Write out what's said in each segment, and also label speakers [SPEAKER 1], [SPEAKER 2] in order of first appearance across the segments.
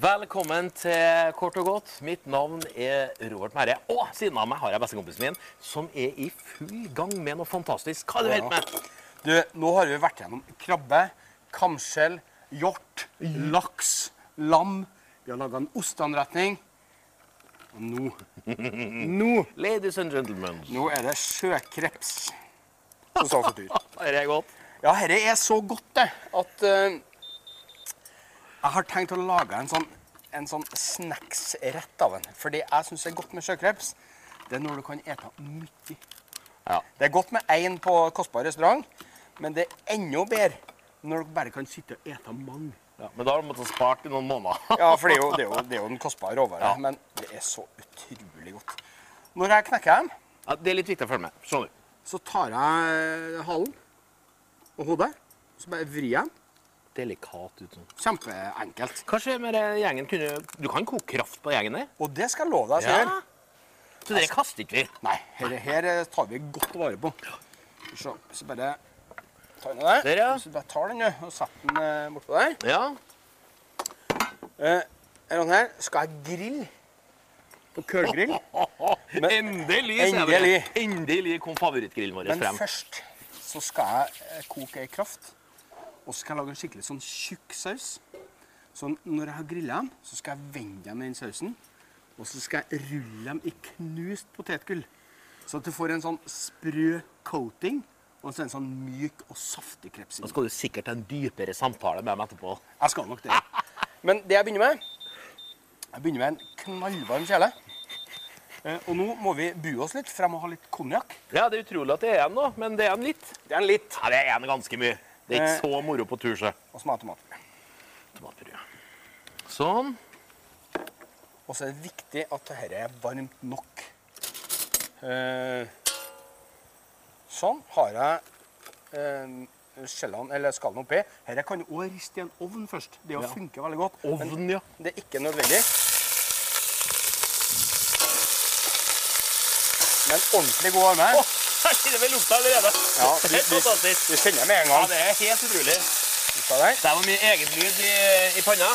[SPEAKER 1] Velkommen til Kort og godt. Mitt navn er Robert Merre. Og siden av meg har jeg bestekompisen min, som er i full gang med noe fantastisk. Hva er det du holder på med?
[SPEAKER 2] Du, nå har vi vært gjennom krabbe, kamskjell, hjort, laks, lam. Vi har laga en osteanretning. Og nå Nå,
[SPEAKER 1] Ladies and gentlemen.
[SPEAKER 2] nå er det sjøkreps som står for tur.
[SPEAKER 1] Er det godt?
[SPEAKER 2] Ja, dette er så godt, det, at eh, Jeg har tenkt å lage en sånn, en sånn snacksrett av den. For det jeg syns er godt med sjøkreps, det er når du kan ete mye.
[SPEAKER 1] Ja.
[SPEAKER 2] Det er godt med én på kostbar restaurant, men det er enda bedre når dere bare kan sitte og ete mange.
[SPEAKER 1] ja. Men da har du måttet spart i noen måneder.
[SPEAKER 2] Ja, for det er jo, det er jo, det er jo en kostbar råvare,
[SPEAKER 1] Ja.
[SPEAKER 2] men det er så utrolig godt. Når jeg knekker dem,
[SPEAKER 1] Ja, det er litt viktig å følge med. Skjønner du.
[SPEAKER 2] så tar jeg halen og hodet, så bare vrir jeg dem.
[SPEAKER 1] Delikat ut sånn.
[SPEAKER 2] Kjempeenkelt.
[SPEAKER 1] Hva skjer med det gjengen? Kunne, du kan koke kraft på gjengen der.
[SPEAKER 2] Og det skal jeg love deg, Sigurd.
[SPEAKER 1] Så dere kaster ikke vi?
[SPEAKER 2] Nei, her, her tar vi godt vare på. Skal vi se, Så bare tar vi den
[SPEAKER 1] Der, ja.
[SPEAKER 2] Så bare tar den, du, og setter den eh, bortpå der.
[SPEAKER 1] Ja.
[SPEAKER 2] Eh, er den her skal jeg grille på kølgrill. Men-
[SPEAKER 1] endelig, sier jeg bare.
[SPEAKER 2] Endelig.
[SPEAKER 1] Endelig kom favorittgrillen vår
[SPEAKER 2] Men
[SPEAKER 1] frem.
[SPEAKER 2] først så skal jeg eh, koke ei kraft. Og så skal jeg lage en skikkelig sånn tjukk saus. Så når jeg har grilla dem, så skal jeg vende dem i den sausen. Og så skal jeg rulle dem i knust potetgull. Så at du får en sånn sprø coating. Og så en sånn myk og saftig kreps.
[SPEAKER 1] Da
[SPEAKER 2] inni.
[SPEAKER 1] skal du sikkert ha en dypere samtale med dem etterpå.
[SPEAKER 2] Jeg skal nok det. Men det jeg begynner med Jeg begynner med en knallvarm kjele. Eh, Og nå må vi bue oss litt, for jeg må ha litt konjakk.
[SPEAKER 1] Ja, det er utrolig at det er en, da. Men det er en litt.
[SPEAKER 2] Det er en litt.
[SPEAKER 1] Ja, det er en ganske mye. Det er ikke så moro på tur, så.
[SPEAKER 2] Og så må jeg ha tomatpuré.
[SPEAKER 1] Tomatpuré. Sånn.
[SPEAKER 2] Og så er det viktig at dette er varmt nok. Eh, sånn har jeg eh, skjellene, eller skallen oppi. Dette kan du også riste i en ovn først. Det
[SPEAKER 1] Ja.
[SPEAKER 2] ja. funker veldig godt.
[SPEAKER 1] Ovn, ja.
[SPEAKER 2] Men det er ikke nødvendig. Men ordentlig god varme.
[SPEAKER 1] Åh, det vil lukte allerede.
[SPEAKER 2] Ja, vi,
[SPEAKER 1] Helt
[SPEAKER 2] vi,
[SPEAKER 1] fantastisk.
[SPEAKER 2] vi kjenner med en
[SPEAKER 1] Ja,
[SPEAKER 2] gang.
[SPEAKER 1] det er helt utrolig.
[SPEAKER 2] Skal jeg der?
[SPEAKER 1] Der var mye egenlyd i, i panna.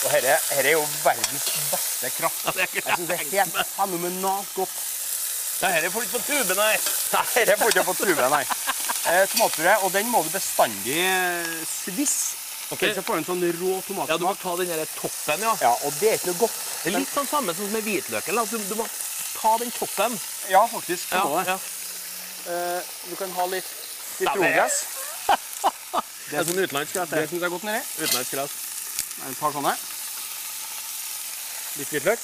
[SPEAKER 2] Og dette, dette er jo verdens beste kraft.
[SPEAKER 1] Ja, det er
[SPEAKER 2] Jeg syns det er helt fenomenalt godt.
[SPEAKER 1] Dette får du ikke på tuben, nei. Nei,
[SPEAKER 2] Dette får du ikke på true, nei. Eh, tomatpuré, og den må du bestandig eh, svisse.
[SPEAKER 1] Ok.
[SPEAKER 2] Okay. Så får du en sånn rå
[SPEAKER 1] Ja, du må
[SPEAKER 2] tomatsmak.
[SPEAKER 1] ta den der toppen, ja.
[SPEAKER 2] Ja, og det er ikke noe godt.
[SPEAKER 1] Det er litt sånn samme som med hvitløken. da. Du, du må ta den toppen.
[SPEAKER 2] Men- Ja, faktisk. du må det.
[SPEAKER 1] ja.
[SPEAKER 2] Eh, du kan ha litt
[SPEAKER 1] Ja, det er-
[SPEAKER 2] sitrongress.
[SPEAKER 1] Det er sånn utenlandsk glass.
[SPEAKER 2] Det syns jeg er godt nedi.
[SPEAKER 1] Utenlandsk glass.
[SPEAKER 2] Et par sånne. Litt hvitløk.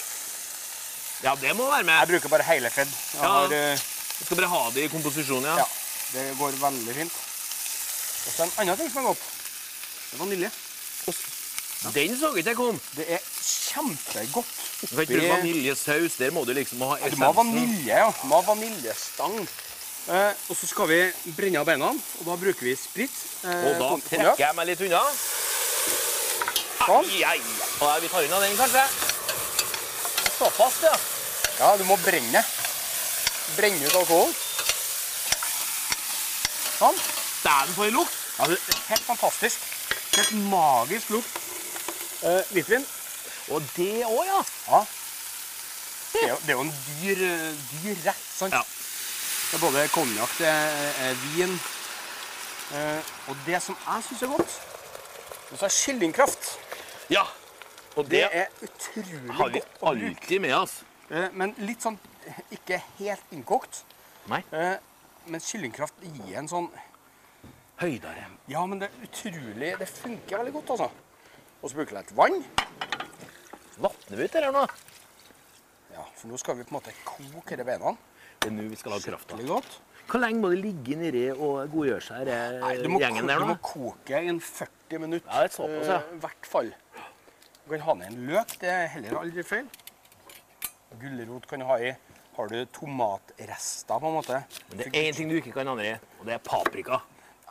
[SPEAKER 1] Ja, det må være
[SPEAKER 2] Jeg
[SPEAKER 1] med.
[SPEAKER 2] bruker bare hele fedd. Jeg
[SPEAKER 1] Ja.
[SPEAKER 2] har, eh,
[SPEAKER 1] Du skal bare ha det i komposisjonen, ja.
[SPEAKER 2] ja, det går veldig fint. Og så en annen ting som er godt. Det er vanilje.
[SPEAKER 1] Den så ikke jeg kom.
[SPEAKER 2] Det er kjempegodt.
[SPEAKER 1] Du kan ikke
[SPEAKER 2] Det-
[SPEAKER 1] bruke vaniljesaus. Der må du liksom ha
[SPEAKER 2] Du må ha vanilje, ja. Du må ha vaniljestang. Eh, og så skal vi brenne av beina, og da bruker vi sprit. Eh,
[SPEAKER 1] Og da
[SPEAKER 2] kon- konjakk.
[SPEAKER 1] trekker jeg meg litt unna.
[SPEAKER 2] Sånn.
[SPEAKER 1] Ai, ai. Og vi tar unna den, kanskje. Såpass, ja.
[SPEAKER 2] Ja, du må brenne. Brenne ut alkohol. Sånn.
[SPEAKER 1] Dæven, for en lukt.
[SPEAKER 2] Ja, det er helt fantastisk. Helt magisk lukt. Eh, hvitvin.
[SPEAKER 1] Og det òg, ja.
[SPEAKER 2] Ja. Det er, jo, det er jo en dyr, eh, dyr rett, sant?
[SPEAKER 1] Ja.
[SPEAKER 2] Det er både konjakk, det er eh, vin. Eh, og det som jeg syns er godt, det er kyllingkraft.
[SPEAKER 1] Ja. Og
[SPEAKER 2] Det
[SPEAKER 1] det,
[SPEAKER 2] er utrolig
[SPEAKER 1] har vi
[SPEAKER 2] godt å bruke.
[SPEAKER 1] alltid med oss.
[SPEAKER 2] Eh, Men litt sånn ikke helt innkokt.
[SPEAKER 1] Nei.
[SPEAKER 2] Eh, Men kyllingkraft gir en sånn
[SPEAKER 1] Høydere.
[SPEAKER 2] Ja, men det er utrolig Det funker veldig godt, altså. Og så bruker jeg litt vann.
[SPEAKER 1] Vatner vi ut det her nå?
[SPEAKER 2] Ja, For nå skal vi på en måte koke de beina.
[SPEAKER 1] Det er nå vi skal lage krafta.
[SPEAKER 2] Veldig godt.
[SPEAKER 1] Hvor lenge må det ligge nedi og godgjøre seg,
[SPEAKER 2] Nei, du
[SPEAKER 1] denne
[SPEAKER 2] må,
[SPEAKER 1] gjengen der
[SPEAKER 2] ko- du
[SPEAKER 1] nå?
[SPEAKER 2] må koke i en eh, 40 minutter.
[SPEAKER 1] Ja, det er altså. såpass, ja.
[SPEAKER 2] I hvert fall. Du kan ha ned en løk. Det er heller aldri feil. Gulrot kan du ha i. Har du tomatrester, på en måte?
[SPEAKER 1] Men det er én ting du ikke kan andre, og det er paprika.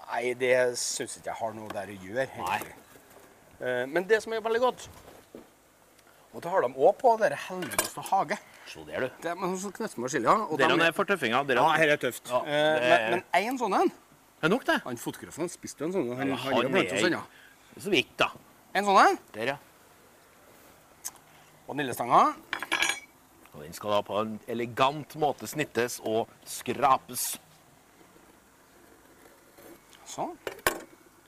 [SPEAKER 2] Nei, det syns ikke jeg har noe der å gjøre.
[SPEAKER 1] Nei.
[SPEAKER 2] egentlig. Eh, Men det som er veldig godt Og det har de òg på denne helveteste hage.
[SPEAKER 1] Så der, du.
[SPEAKER 2] Det er med sånn knøttsmør chili. ja, og
[SPEAKER 1] Dere
[SPEAKER 2] de-
[SPEAKER 1] er for tøffinga. Dere
[SPEAKER 2] Ja, her er tøft.
[SPEAKER 1] Ja,
[SPEAKER 2] Eh,
[SPEAKER 1] det er-
[SPEAKER 2] Men men én sånn en
[SPEAKER 1] Det er nok, det.
[SPEAKER 2] Han fotografen han spiste jo en sånn. Han,
[SPEAKER 1] Ja,
[SPEAKER 2] han,
[SPEAKER 1] han
[SPEAKER 2] han
[SPEAKER 1] er- Så vidt, da.
[SPEAKER 2] En sånn en.
[SPEAKER 1] Der, ja.
[SPEAKER 2] Vaniljestanga.
[SPEAKER 1] Og den skal da på en elegant måte snittes og skrapes.
[SPEAKER 2] Sånn.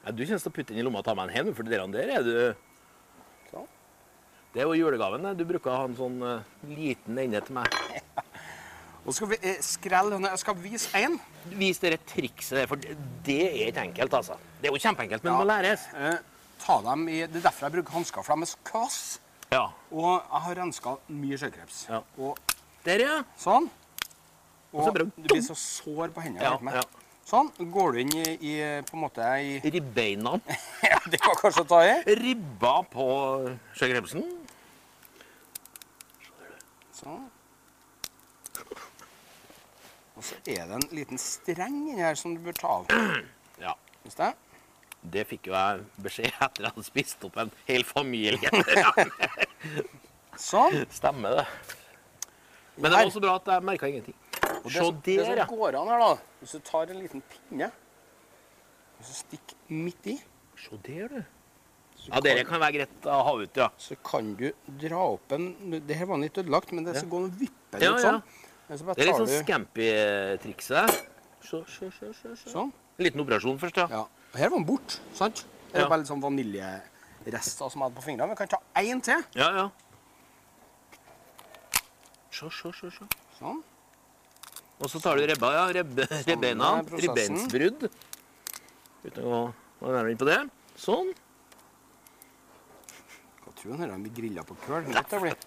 [SPEAKER 1] Ja, du kjennes til å putte den i lomma og ta med en hen, for det der, der er du
[SPEAKER 2] sånn.
[SPEAKER 1] Det er jo julegaven. det. Du bruker å ha en sånn eh, liten ende til meg.
[SPEAKER 2] Og så skal vi eh, skrelle denne. Jeg skal vise én.
[SPEAKER 1] Vis dere trikset der, for det det er ikke enkelt, altså. Det er jo kjempeenkelt, men det må
[SPEAKER 2] Ja.
[SPEAKER 1] læres.
[SPEAKER 2] Eh, ta dem i, det er derfor jeg bruker hansker, for de er så kvass.
[SPEAKER 1] Ja.
[SPEAKER 2] Og jeg har renska mye sjøkreps.
[SPEAKER 1] Ja.
[SPEAKER 2] Og
[SPEAKER 1] Der, ja.
[SPEAKER 2] sånn. Og
[SPEAKER 1] så bare
[SPEAKER 2] du blir så sår på hendene.
[SPEAKER 1] Ja,
[SPEAKER 2] vet du meg.
[SPEAKER 1] ja.
[SPEAKER 2] Sånn. Går du inn i, i på en måte i
[SPEAKER 1] Ribbeina.
[SPEAKER 2] Ja, det var kanskje å ta i.
[SPEAKER 1] Ribba på sjøkrepsen.
[SPEAKER 2] Sånn. Og så er det en liten streng inni her som du bør ta av.
[SPEAKER 1] Ja.
[SPEAKER 2] Syns jeg.
[SPEAKER 1] Det fikk jo jeg beskjed etter at jeg hadde spist opp en hel familie.
[SPEAKER 2] Sånn.
[SPEAKER 1] Stemmer det. Men det var så bra at jeg merka ingenting.
[SPEAKER 2] Og det,
[SPEAKER 1] Se
[SPEAKER 2] som- det
[SPEAKER 1] der, ja.
[SPEAKER 2] som går an her, da, hvis du tar en liten pinne og så stikker midt i,
[SPEAKER 1] Se der, du.
[SPEAKER 2] så
[SPEAKER 1] Ja, dere kan være greit å ha ut, ja.
[SPEAKER 2] så kan du dra opp en Det her var litt ødelagt, men det
[SPEAKER 1] Ja.
[SPEAKER 2] skal gå an å vippe
[SPEAKER 1] Ja,
[SPEAKER 2] litt
[SPEAKER 1] ja.
[SPEAKER 2] sånn. Men så bare
[SPEAKER 1] Det er litt
[SPEAKER 2] tar
[SPEAKER 1] sånn
[SPEAKER 2] du
[SPEAKER 1] scampi-trikset. Se, se, se, se, se.
[SPEAKER 2] sånn.
[SPEAKER 1] En liten operasjon først, ja.
[SPEAKER 2] Ja. Og her var den bort, sant? Det er
[SPEAKER 1] Ja.
[SPEAKER 2] bare litt sånn vaniljerester som jeg hadde på fingrene. Vi kan ta én til.
[SPEAKER 1] Ja, ja. Se, se, se, se.
[SPEAKER 2] Sånn.
[SPEAKER 1] Og så tar du ribba, ja. Ribbe, ribbeina.
[SPEAKER 2] er prosessen.
[SPEAKER 1] Ribbeinsbrudd. Uten å gå gå nærmere inn på det. Sånn.
[SPEAKER 2] Hva tror du den blir grilla på køl? Vet du det blir?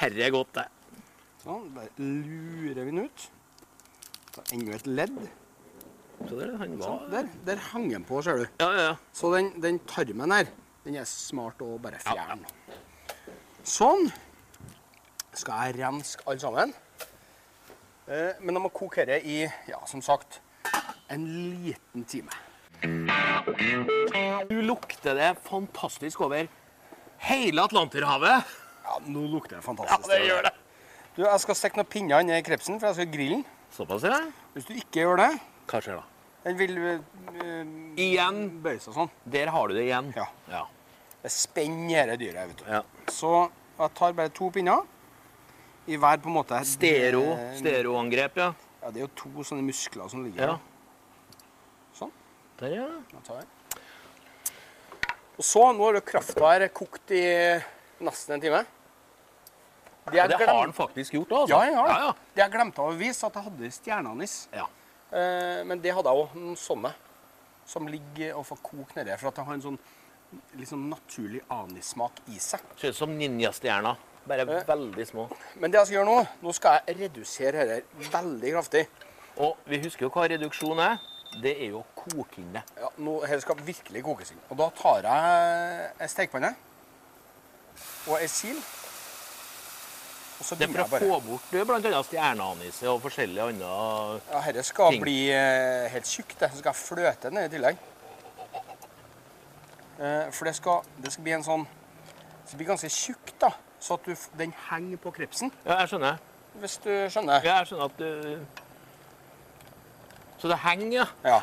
[SPEAKER 1] Herre er godt, det.
[SPEAKER 2] Sånn. Bare lurer vi den ut. Ta enda et ledd.
[SPEAKER 1] Så der, han
[SPEAKER 2] Sånn.
[SPEAKER 1] var
[SPEAKER 2] Der, der hang den på, ser du.
[SPEAKER 1] Ja, ja, ja.
[SPEAKER 2] Så den, den tarmen her, den er smart å bare fjerne. Sånn. Skal jeg renske alle sammen. Eh, men jeg må koke dette i, ja, som sagt, en liten time.
[SPEAKER 1] Du lukter det fantastisk over hele Atlanterhavet.
[SPEAKER 2] Ja, nå lukter det fantastisk.
[SPEAKER 1] det.
[SPEAKER 2] Du, jeg skal stikke noen pinner inn i krepsen, for jeg skal grille den.
[SPEAKER 1] Såpass, ja.
[SPEAKER 2] Hvis du ikke gjør det,
[SPEAKER 1] Hva skjer da?
[SPEAKER 2] den vil eh,
[SPEAKER 1] Igjen.
[SPEAKER 2] bøye seg sånn.
[SPEAKER 1] Der har du det igjen.
[SPEAKER 2] Ja.
[SPEAKER 1] Ja.
[SPEAKER 2] Det spenner dette dyret, vet du.
[SPEAKER 1] ja.
[SPEAKER 2] Så jeg tar bare to pinner i hver på en måte.
[SPEAKER 1] Stero,
[SPEAKER 2] Eh,
[SPEAKER 1] stereoangrep, ja.
[SPEAKER 2] Ja, det er jo to sånne muskler som ligger
[SPEAKER 1] ja.
[SPEAKER 2] her. Sånn.
[SPEAKER 1] Der, ja.
[SPEAKER 2] Jeg tar den. Og så, nå har du krafta her kokt i nesten en time. Det
[SPEAKER 1] ja.
[SPEAKER 2] jeg
[SPEAKER 1] Det har
[SPEAKER 2] glem-
[SPEAKER 1] han faktisk gjort, da. altså.
[SPEAKER 2] Ja, jeg har det.
[SPEAKER 1] Ja,
[SPEAKER 2] Det jeg glemte å vise, at jeg hadde stjerneanis.
[SPEAKER 1] ja.
[SPEAKER 2] Eh, men det hadde jeg òg. Noen sånne som ligger og får koke nedi. For at det har en sånn litt sånn naturlig anissmak i seg.
[SPEAKER 1] Ser ut som ninjastjerna. Bare veldig små.
[SPEAKER 2] Men det jeg skal gjøre nå, nå skal jeg redusere dette veldig kraftig.
[SPEAKER 1] Og vi husker jo hva reduksjon er. Det er jo å koke inn det.
[SPEAKER 2] Ja, nå, her skal virkelig kokes inn. Og da tar jeg ei stekepanne og ei sil. Og så
[SPEAKER 1] Det er
[SPEAKER 2] begynner
[SPEAKER 1] for
[SPEAKER 2] jeg
[SPEAKER 1] å
[SPEAKER 2] bare.
[SPEAKER 1] få bort eh, blant annet stjerneanise og forskjellige andre
[SPEAKER 2] Ja, Dette skal
[SPEAKER 1] Ting.
[SPEAKER 2] bli eh, helt tjukt. det. Så skal jeg fløte den i tillegg. Eh, for det skal, det skal bli en sånn Det blir ganske tjukt, da. Så at du, f- den henger på krepsen,
[SPEAKER 1] Ja, jeg skjønner.
[SPEAKER 2] hvis du skjønner.
[SPEAKER 1] Ja, jeg skjønner at du Så det henger, ja.
[SPEAKER 2] Ja.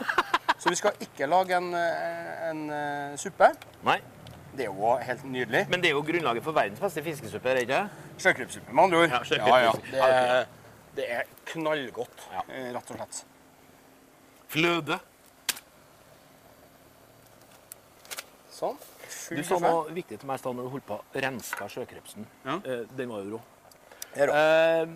[SPEAKER 2] Så vi skal ikke lage en, eh, en eh, suppe.
[SPEAKER 1] Nei.
[SPEAKER 2] Det er jo helt nydelig.
[SPEAKER 1] Men det er jo grunnlaget for verdens beste fiskesuppe, er det ikke? det?
[SPEAKER 2] Sjøkreppsuppe, med andre ord.
[SPEAKER 1] Ja, sjøkreppsuppe.
[SPEAKER 2] Det, er- det er knallgodt,
[SPEAKER 1] Ja.
[SPEAKER 2] eh, rett og slett.
[SPEAKER 1] Fløde.
[SPEAKER 2] Sånn.
[SPEAKER 1] Du
[SPEAKER 2] Full
[SPEAKER 1] sa
[SPEAKER 2] kaffe.
[SPEAKER 1] noe viktig til meg i stad når du holdt på å renske sjøkrepsen.
[SPEAKER 2] Ja.
[SPEAKER 1] Eh, Den var jo rå.
[SPEAKER 2] Her også.
[SPEAKER 1] Eh,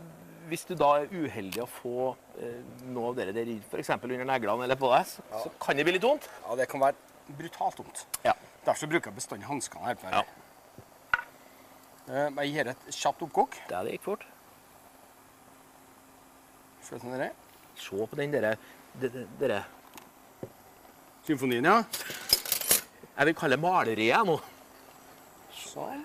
[SPEAKER 1] hvis du da er uheldig å få eh, noe av dere der i, f.eks. under neglene eller på deg, så, så kan det bli litt vondt.
[SPEAKER 2] Ja, det kan være brutalt dumt.
[SPEAKER 1] Ja.
[SPEAKER 2] Derfor bruker jeg bestandig hanskene her. på
[SPEAKER 1] Ja.
[SPEAKER 2] her. Eh, Jeg gir et kjapt oppkok.
[SPEAKER 1] Det, det gikk fort.
[SPEAKER 2] Følg med dere.
[SPEAKER 1] Se på den dere, de- de- dere.
[SPEAKER 2] Symfonien, ja.
[SPEAKER 1] Jeg vil kalle det maleriet jeg, nå.
[SPEAKER 2] Sånn.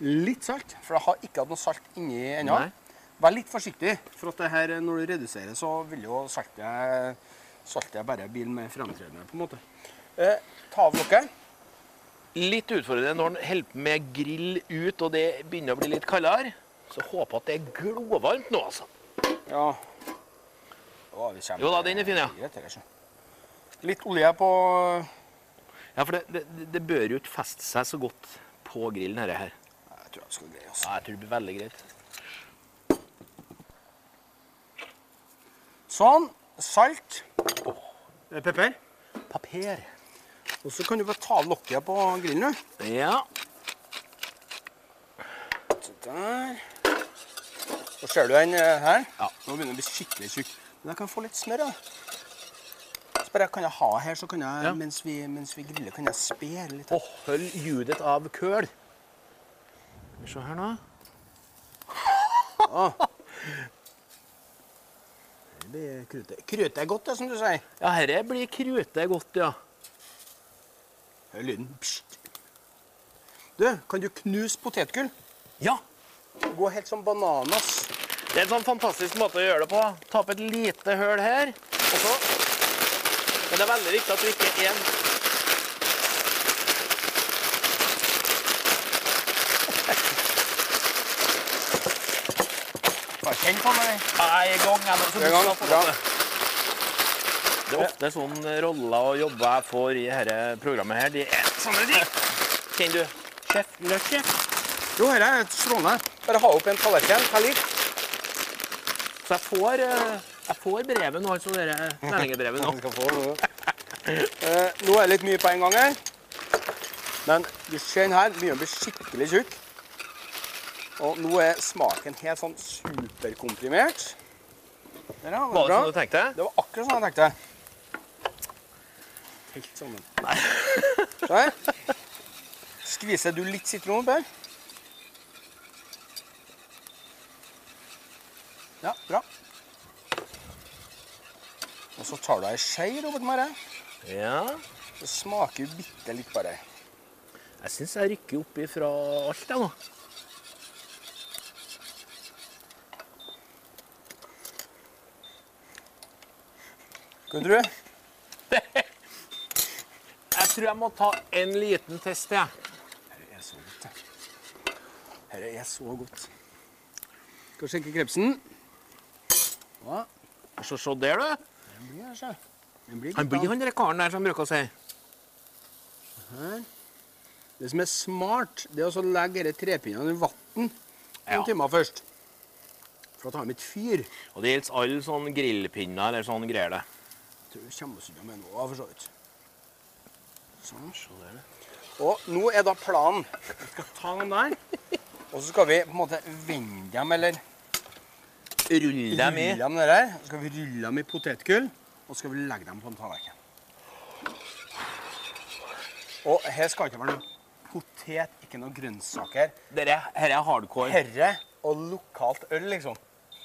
[SPEAKER 2] Litt salt, for jeg har ikke hatt noe salt inni ennå.
[SPEAKER 1] Nei.
[SPEAKER 2] Vær litt forsiktig, for at det her, når du reduserer, så vil jo saltet, saltet bare bli mer fremtredende, på en måte. Eh, ta av lokket.
[SPEAKER 1] Litt utfordrende når den holder på med grill ut og det begynner å bli litt kaldere. Så håper jeg at det er glovarmt nå, altså.
[SPEAKER 2] Ja. Å, vi kommer-
[SPEAKER 1] Jo da, den er fin, ja.
[SPEAKER 2] Greit, eller så. Litt olje på eh,
[SPEAKER 1] Ja, for det, det, det bør jo ikke feste seg så godt på grillen dette her.
[SPEAKER 2] Jeg tror jeg skal greie altså. oss.
[SPEAKER 1] Ja, jeg tror det blir veldig greit.
[SPEAKER 2] Sånn. Salt. Eh, Pepper.
[SPEAKER 1] Papir.
[SPEAKER 2] Og så kan du bare ta av lokket på grillen. du.
[SPEAKER 1] Ja.
[SPEAKER 2] Så der. Så ser du den eh, her.
[SPEAKER 1] Ja.
[SPEAKER 2] Nå begynner den å bli skikkelig tjukk. Men jeg kan få litt smør, da. Så bare kan jeg ha her, så kan jeg,
[SPEAKER 1] Ja.
[SPEAKER 2] mens, vi, mens vi griller, kan jeg spere litt.
[SPEAKER 1] Og hold ljudet av køl. Skal vi se her nå.
[SPEAKER 2] Ah. Det blir krute. Krute er godt, det, som du sier.
[SPEAKER 1] Ja, dette blir krutet godt, ja.
[SPEAKER 2] Hør lyden. Psst. Du, kan du knuse potetgull?
[SPEAKER 1] Ja,
[SPEAKER 2] Gå helt som bananas.
[SPEAKER 1] Det er en sånn fantastisk måte å gjøre det på. Ta opp et lite høl her. Og så. Men det er veldig viktig at du ikke er en
[SPEAKER 2] Bare kjenn på meg.
[SPEAKER 1] Nei, i gang. Jeg, nå, så
[SPEAKER 2] I gang,
[SPEAKER 1] skal få
[SPEAKER 2] bra.
[SPEAKER 1] det. det er ofte sånn roller og jobber jeg får i dette programmet her. De er sånne ting. Kjenner du Chef Lucky?
[SPEAKER 2] Jo, dette er strålende. Bare ha opp en tallerken. Ta litt.
[SPEAKER 1] Så jeg får, eh, jeg får brevet nå, altså dere lærlingebrevet nå.
[SPEAKER 2] Eh, nå er det litt mye på en gang her. Men du ser den her, begynner å bli skikkelig tjukk. Og nå er smaken helt sånn superkomprimert. Der, ja,
[SPEAKER 1] Var det
[SPEAKER 2] bra.
[SPEAKER 1] som du tenkte?
[SPEAKER 2] Det var akkurat sånn jeg tenkte. Helt sammen. Nei. Skviser du litt sitron, Per? Ja, bra. Og så tar du ei skje, Robert Mare.
[SPEAKER 1] Ja.
[SPEAKER 2] Det smaker jo bitte litt bare.
[SPEAKER 1] Jeg syns jeg rykker opp ifra alt, jeg nå.
[SPEAKER 2] Hva tror du?
[SPEAKER 1] Jeg tror jeg må ta en liten test, jeg.
[SPEAKER 2] Dette er så godt. det. Dette er så godt. Skal vi sjekke krepsen? Ja,
[SPEAKER 1] Så se der, du.
[SPEAKER 2] den blir her, se. Den blir
[SPEAKER 1] Han
[SPEAKER 2] litt
[SPEAKER 1] blir han der karen der som bruker å si.
[SPEAKER 2] Her. Det som er smart, det er å så legge disse trepinnene i vann
[SPEAKER 1] Ja.
[SPEAKER 2] noen timer først. For å ta med et fyr.
[SPEAKER 1] Og det gjelder alle sånne grillpinner eller sånne greier det.
[SPEAKER 2] Jeg tror vi kommer oss unna med noe, for så vidt. Sånn, se der. Og nå er da planen. Vi skal ta den der. Og så skal vi på en måte vende dem, eller
[SPEAKER 1] Rull dem i.
[SPEAKER 2] rulle dem der. her. Så skal vi rulle dem i potetgull, og så skal vi legge dem på en tallerken. Og her skal det ikke være noe potet, ikke noe grønnsaker.
[SPEAKER 1] Dette her er hardcore.
[SPEAKER 2] Herre og lokalt øl, liksom.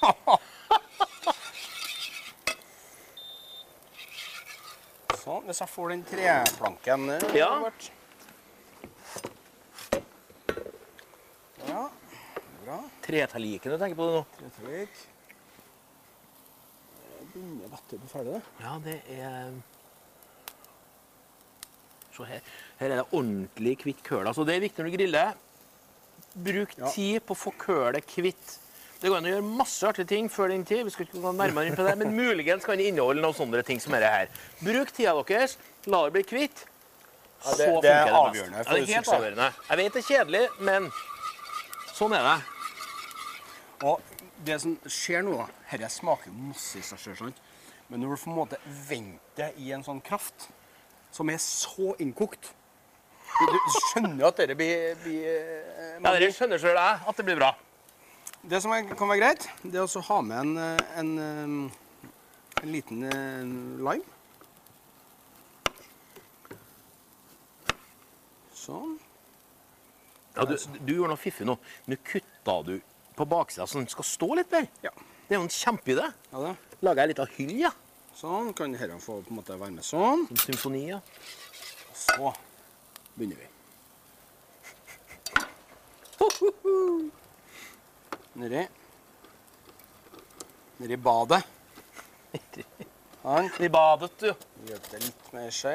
[SPEAKER 2] sånn, hvis jeg får den treplanken der,
[SPEAKER 1] Ja.
[SPEAKER 2] Robert. Ja, bra.
[SPEAKER 1] Tretalliken du tenker på det nå?
[SPEAKER 2] Tretrykk. Jeg begynner vettet på ferdig, da.
[SPEAKER 1] Ja, det er Se her. Her er det ordentlig kvitt køl. Altså, det er viktig når du griller. Bruk
[SPEAKER 2] Ja.
[SPEAKER 1] tid på å få kølet kvitt. Det går an å gjøre masse artige ting før den tid. Vi skal ikke gå nærmere inn på det, men muligens kan det inneholde noen sånne ting som dette her. Bruk tida deres, la det bli kvitt.
[SPEAKER 2] Ja, det-
[SPEAKER 1] så
[SPEAKER 2] det er
[SPEAKER 1] funker best.
[SPEAKER 2] avgjørende
[SPEAKER 1] Ja,
[SPEAKER 2] for
[SPEAKER 1] det er helt
[SPEAKER 2] suksess.
[SPEAKER 1] avgjørende. Jeg vet det er kjedelig, men sånn er det.
[SPEAKER 2] Og det som skjer nå, da Dette smaker jo masse i seg selv, sant? Men når du på en måte venter i en sånn kraft som er så innkokt Du, du skjønner at dette blir, blir eh,
[SPEAKER 1] Ja, Dere skjønner sjøl at det blir bra.
[SPEAKER 2] Det som er, kan være greit, det er også å ha med en, eh, en, eh, en liten eh, lime. Sånn.
[SPEAKER 1] Ja, du, du gjorde noe fiffig nå. Nå kutta du på baksida så den skal stå litt der.
[SPEAKER 2] Ja.
[SPEAKER 1] Det er jo en kjempeidé.
[SPEAKER 2] ja da.
[SPEAKER 1] Lager jeg ei lita hylle, ja.
[SPEAKER 2] Sånn kan dette få på en måte være med sånn.
[SPEAKER 1] Som symfoni, ja.
[SPEAKER 2] så begynner vi. Nedi Nedi badet. Sånn.
[SPEAKER 1] I badet, du.
[SPEAKER 2] Gjør det litt mer skje.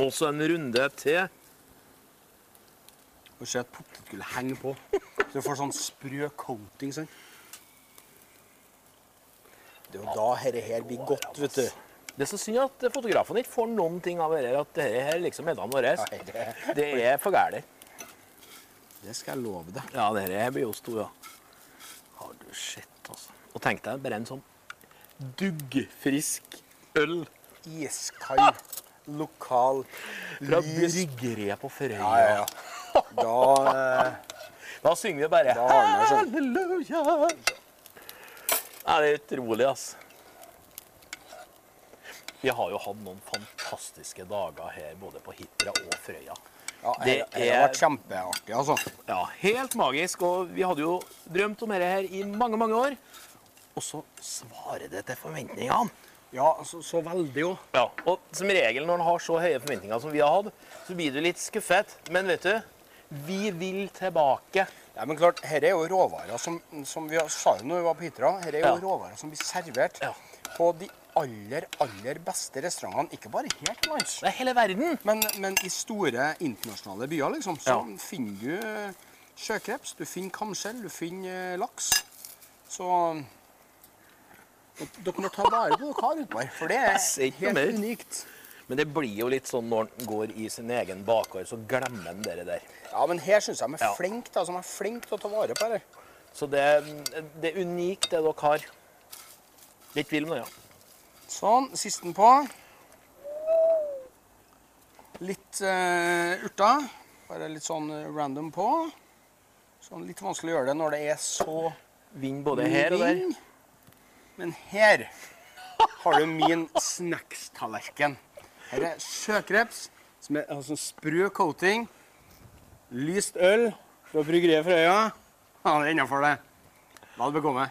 [SPEAKER 1] Også en runde til.
[SPEAKER 2] Og se at potetgullet henger på. Så du får sånn sprø coating. sant? Det er jo da dette her blir godt, vet du.
[SPEAKER 1] Det er så synd at fotografene ikke får noen ting av dette, at dette her liksom er dagen vår.
[SPEAKER 2] Nei, det,
[SPEAKER 1] Det er for gærent.
[SPEAKER 2] det skal jeg love deg.
[SPEAKER 1] Ja, dette her blir jo stor, ja. Har du sett, altså. Og tenk deg bare en sånn duggfrisk øl
[SPEAKER 2] Iskald, lokal,
[SPEAKER 1] fra
[SPEAKER 2] lys
[SPEAKER 1] bryggeriet på Frøya.
[SPEAKER 2] Ja, ja, ja. Da, eh,
[SPEAKER 1] Da synger vi bare
[SPEAKER 2] Da ordner det seg.
[SPEAKER 1] halleluja. Nei, det er utrolig, altså. Vi har jo hatt noen fantastiske dager her, både på Hitra og Frøya.
[SPEAKER 2] ja det,
[SPEAKER 1] Det
[SPEAKER 2] det har
[SPEAKER 1] er-
[SPEAKER 2] vært kjempeartig, altså.
[SPEAKER 1] Ja, helt magisk. Og vi hadde jo drømt om dette her i mange, mange år. Og så svarer det til forventningene.
[SPEAKER 2] Ja, så, så veldig òg.
[SPEAKER 1] Ja, og som regel når en har så høye forventninger som vi har hatt, så blir du litt skuffet. Men vet du, vi vil tilbake.
[SPEAKER 2] Ja, men klart, her er jo råvarer som, som vi sa jo når vi var på Hitra, her er jo
[SPEAKER 1] Ja.
[SPEAKER 2] råvarer som blir servert
[SPEAKER 1] Ja.
[SPEAKER 2] på de aller, aller beste restaurantene. Ikke bare her til lands,
[SPEAKER 1] Det er hele verden.
[SPEAKER 2] men, men i store internasjonale byer, liksom, så
[SPEAKER 1] Ja.
[SPEAKER 2] finner du eh, sjøkreps, du finner kamskjell, du finner eh, laks. Så dere må ta vare på dere har utpå her, for det
[SPEAKER 1] Jeg ser
[SPEAKER 2] er
[SPEAKER 1] ikke noe
[SPEAKER 2] helt
[SPEAKER 1] mer.
[SPEAKER 2] unikt.
[SPEAKER 1] Men det blir jo litt sånn når en går i sin egen bakgård, så glemmer en det der.
[SPEAKER 2] Ja, men her syns jeg de er
[SPEAKER 1] Ja.
[SPEAKER 2] flinke da, som er flinke til å ta vare på det.
[SPEAKER 1] Så det, det er unikt, det dere har. Litt tvil om det, ja.
[SPEAKER 2] Sånn, sisten på. Litt eh, urter. Bare litt sånn eh, random på. Sånn litt vanskelig å gjøre det når det er så
[SPEAKER 1] Vind både her og der.
[SPEAKER 2] vind. Men her har du min snacks-tallerken. Her er sjøkreps som er altså sprø coating. Lyst øl fra bryggeriet Frøya. Ja, det er innafor det. Vel bekomme.